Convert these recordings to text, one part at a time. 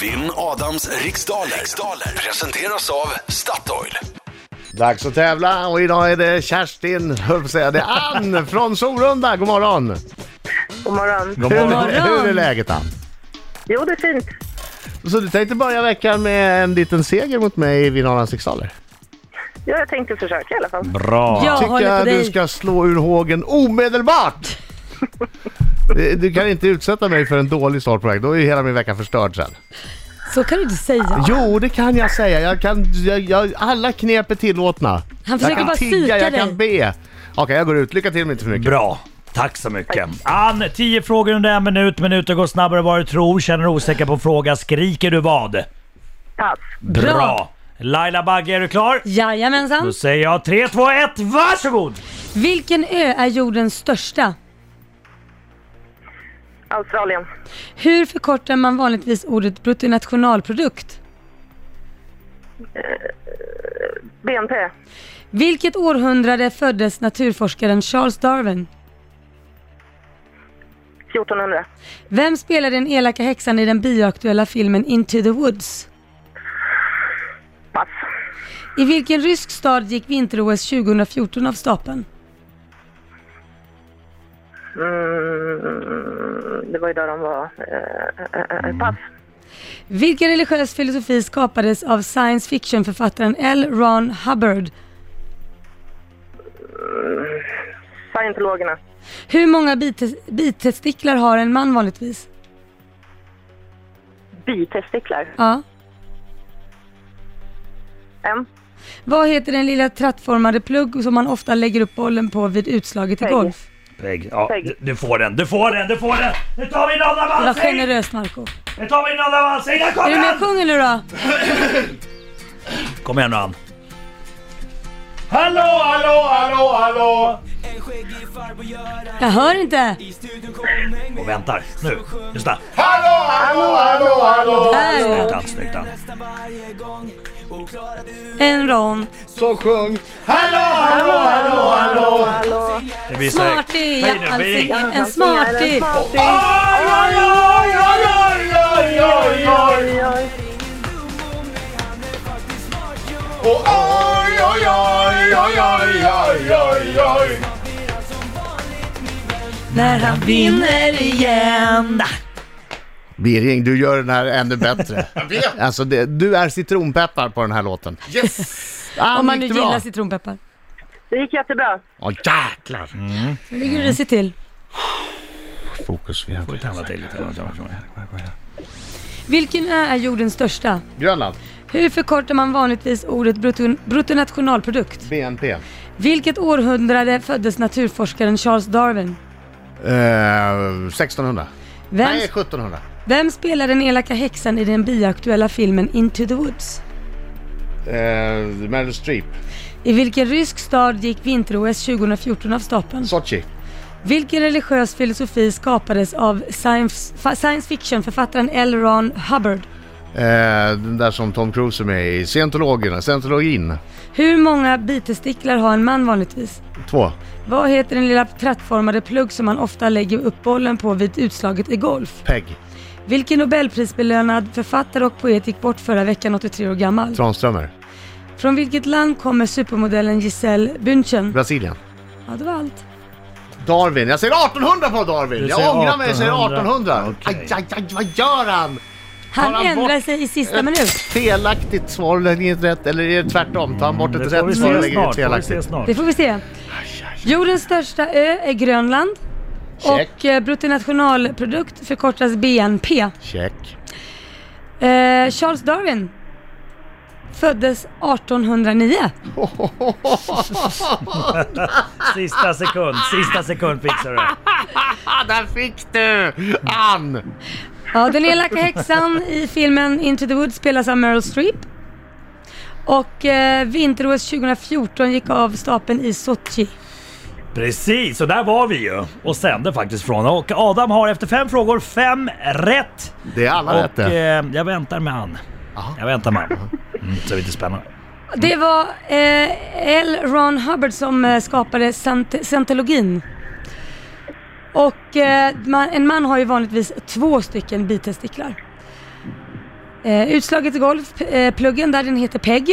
Vinn Adams riksdaler. riksdaler presenteras av Statoil. Dags att tävla och idag är det Kerstin, höll jag på att säga, det är Ann från Sorunda. God morgon! God morgon. Hur, morgon. hur är läget Ann? Jo, det är fint. Så du tänkte börja veckan med en liten seger mot mig i Vinalans riksdaler? Ja, jag tänkte försöka i alla fall. Bra! Jag tycker håller på jag du dig. ska slå ur hågen omedelbart! Du- Du kan inte utsätta mig för en dålig start på väg, då är ju hela min vecka förstörd sen. Så kan du inte säga. Jo, det kan jag säga. Jag kan, jag, jag, alla knep är tillåtna. Han Jag försöker kan bara psyka tigga, jag dig. kan be. Okej, jag går ut. Lycka till men inte för mycket. Bra! Tack så mycket. Ann, 10 frågor under en minut. Minuten går snabbare än vad du tror. Känner du osäker på en fråga skriker du vad? Pass. Bra! Laila Bagge, är du klar? Då Jajamensan. säger jag 3, 2, 1, varsågod! Vilken ö är jordens största? Australien. Hur förkortar man vanligtvis ordet bruttonationalprodukt? BNP. Vilket århundrade föddes naturforskaren Charles Darwin? 1400. Vem spelar den elaka häxan i den bioaktuella filmen Into the Woods? Pass. I vilken rysk stad gick vinter-OS 2014 av stapeln? Mm, det var ju där de var. Eh, eh, eh, pass. Vilken religiös filosofi skapades av science fiction-författaren L. Ron Hubbard? Scientologerna. Hur många bite- bittestiklar har en man vanligtvis? Bitestiklar. Ja. En. Vad heter den lilla trattformade plugg som man ofta lägger upp bollen på vid utslaget i Peg. golf? Peg, ja, Peg. d- du får den, du får den, du får den! Nu tar vi en annan Det var valsäng! generöst Marco. Nu tar vi en annan valsäng, där Är du kommer med och den! sjunger nu då? Kom igen nu Ann. Hallå, hallå, hallå, hallå! Jag hör inte. Och väntar, nu, just det. Här. Snyggt Ann, snyggt Ann. En rond. Så sjung! Hallå. Det blir så här- Smarty, Nej, det ja, blir- allsing, en smarty. Smarty. Oj, oj. När han vinner igen. Birging, du gör den här ännu bättre. Alltså, det, du är citronpeppar på den här låten. Ah, Yes! Om man nu gillar citronpeppar. Det gick jättebra. Åh jäklar! Nu ligger det sig till. Fokus, vi har... Tända till lite. Vilken ö är jordens största? Grönland, Hur förkortar man vanligtvis ordet brutto, bruttonationalprodukt? BNP. Eh, Vilket århundrade föddes naturforskaren Charles Darwin? 1600. Eh, Nej, Vem, 1700. vem spelar den elaka häxan i den bioaktuella filmen Into the Woods? Eh, Meryl Streep. I vilken rysk stad gick vinter-OS 2014 av stapeln? Sochi. Vilken religiös filosofi skapades av science, fa- science fiction-författaren L. Ron Hubbard? Eh, den där som Tom Cruise är med i. Scientologerna, scientologin. Hur många bitestiklar har en man vanligtvis? Två. Vad heter den lilla trattformade plugg som man ofta lägger upp bollen på vid utslaget i golf? Peg. Vilken nobelprisbelönad författare och poet gick bort förra veckan 83 år gammal? Tranströmer. Från vilket land kommer supermodellen Giselle Bündchen? Brasilien. Ja, det var allt. Darwin. Jag säger 1800 på Darwin! Du Jag säger ångrar mig, jag säger 1800. 1800. Aj, aj, aj, vad gör han? Han Tar han bort- ändrar sig i sista minut. Felaktigt svar, och lägger inte rätt. Eller är det tvärtom? Tar han bort ett Mm, Det får vi rätt svar och se lägger in ett snart. Får vi se felaktigt? snart. Det får vi se. Jordens största ö är Grönland. Check. Och eh, bruttonationalprodukt förkortas BNP. Eh, Check. Charles Darwin föddes 1809. Sista sekund, sista sekund fixar du det. Ah, där fick du! Ann! Ja, den elaka häxan i filmen Into the Woods spelas av Meryl Streep. Och eh, vinter-OS 2014 gick av stapeln i Sochi. Precis, och där var vi ju och sände faktiskt från. Och Adam har efter fem frågor fem rätt. Det är alla rätt Och det. eh, jag väntar med han. Jag väntar med han. Mm, så det är lite spännande. Det var eh, L. Ron Hubbard som eh, skapade sant- scientologin. Och eh, man, en man har ju vanligtvis två stycken bitestiklar. Eh, utslaget i golf, eh, pluggen där den heter Peg.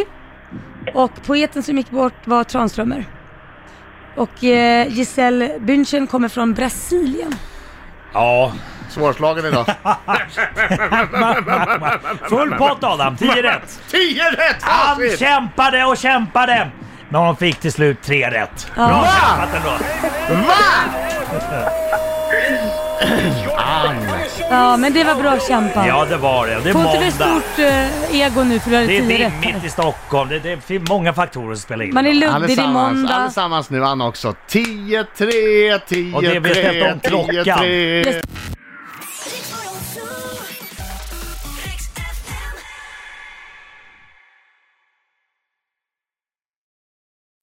Och poeten som gick bort var Tranströmer. Och eh, Giselle Bündchen kommer från Brasilien. Ja. Svårslagen idag. Full pott Adam, 10 rätt. 10 rätt Han facit! kämpade och kämpade. Men hon fick till slut tre rätt. Ja. Bra Va? kämpat ändå. Va? Ja, men det var bra kämpat. Ja, det var det. Det är Får inte för måndag. stort eh, ego nu för du hade Det är tio rätt här. dimmigt i Stockholm. Det, det finns många faktorer som spelar in. Man är luddig, det är Allesammans, måndag. allesammans nu, Anna också. 10-3, 10-3, Och det vi har ställt om klockan. 10-3.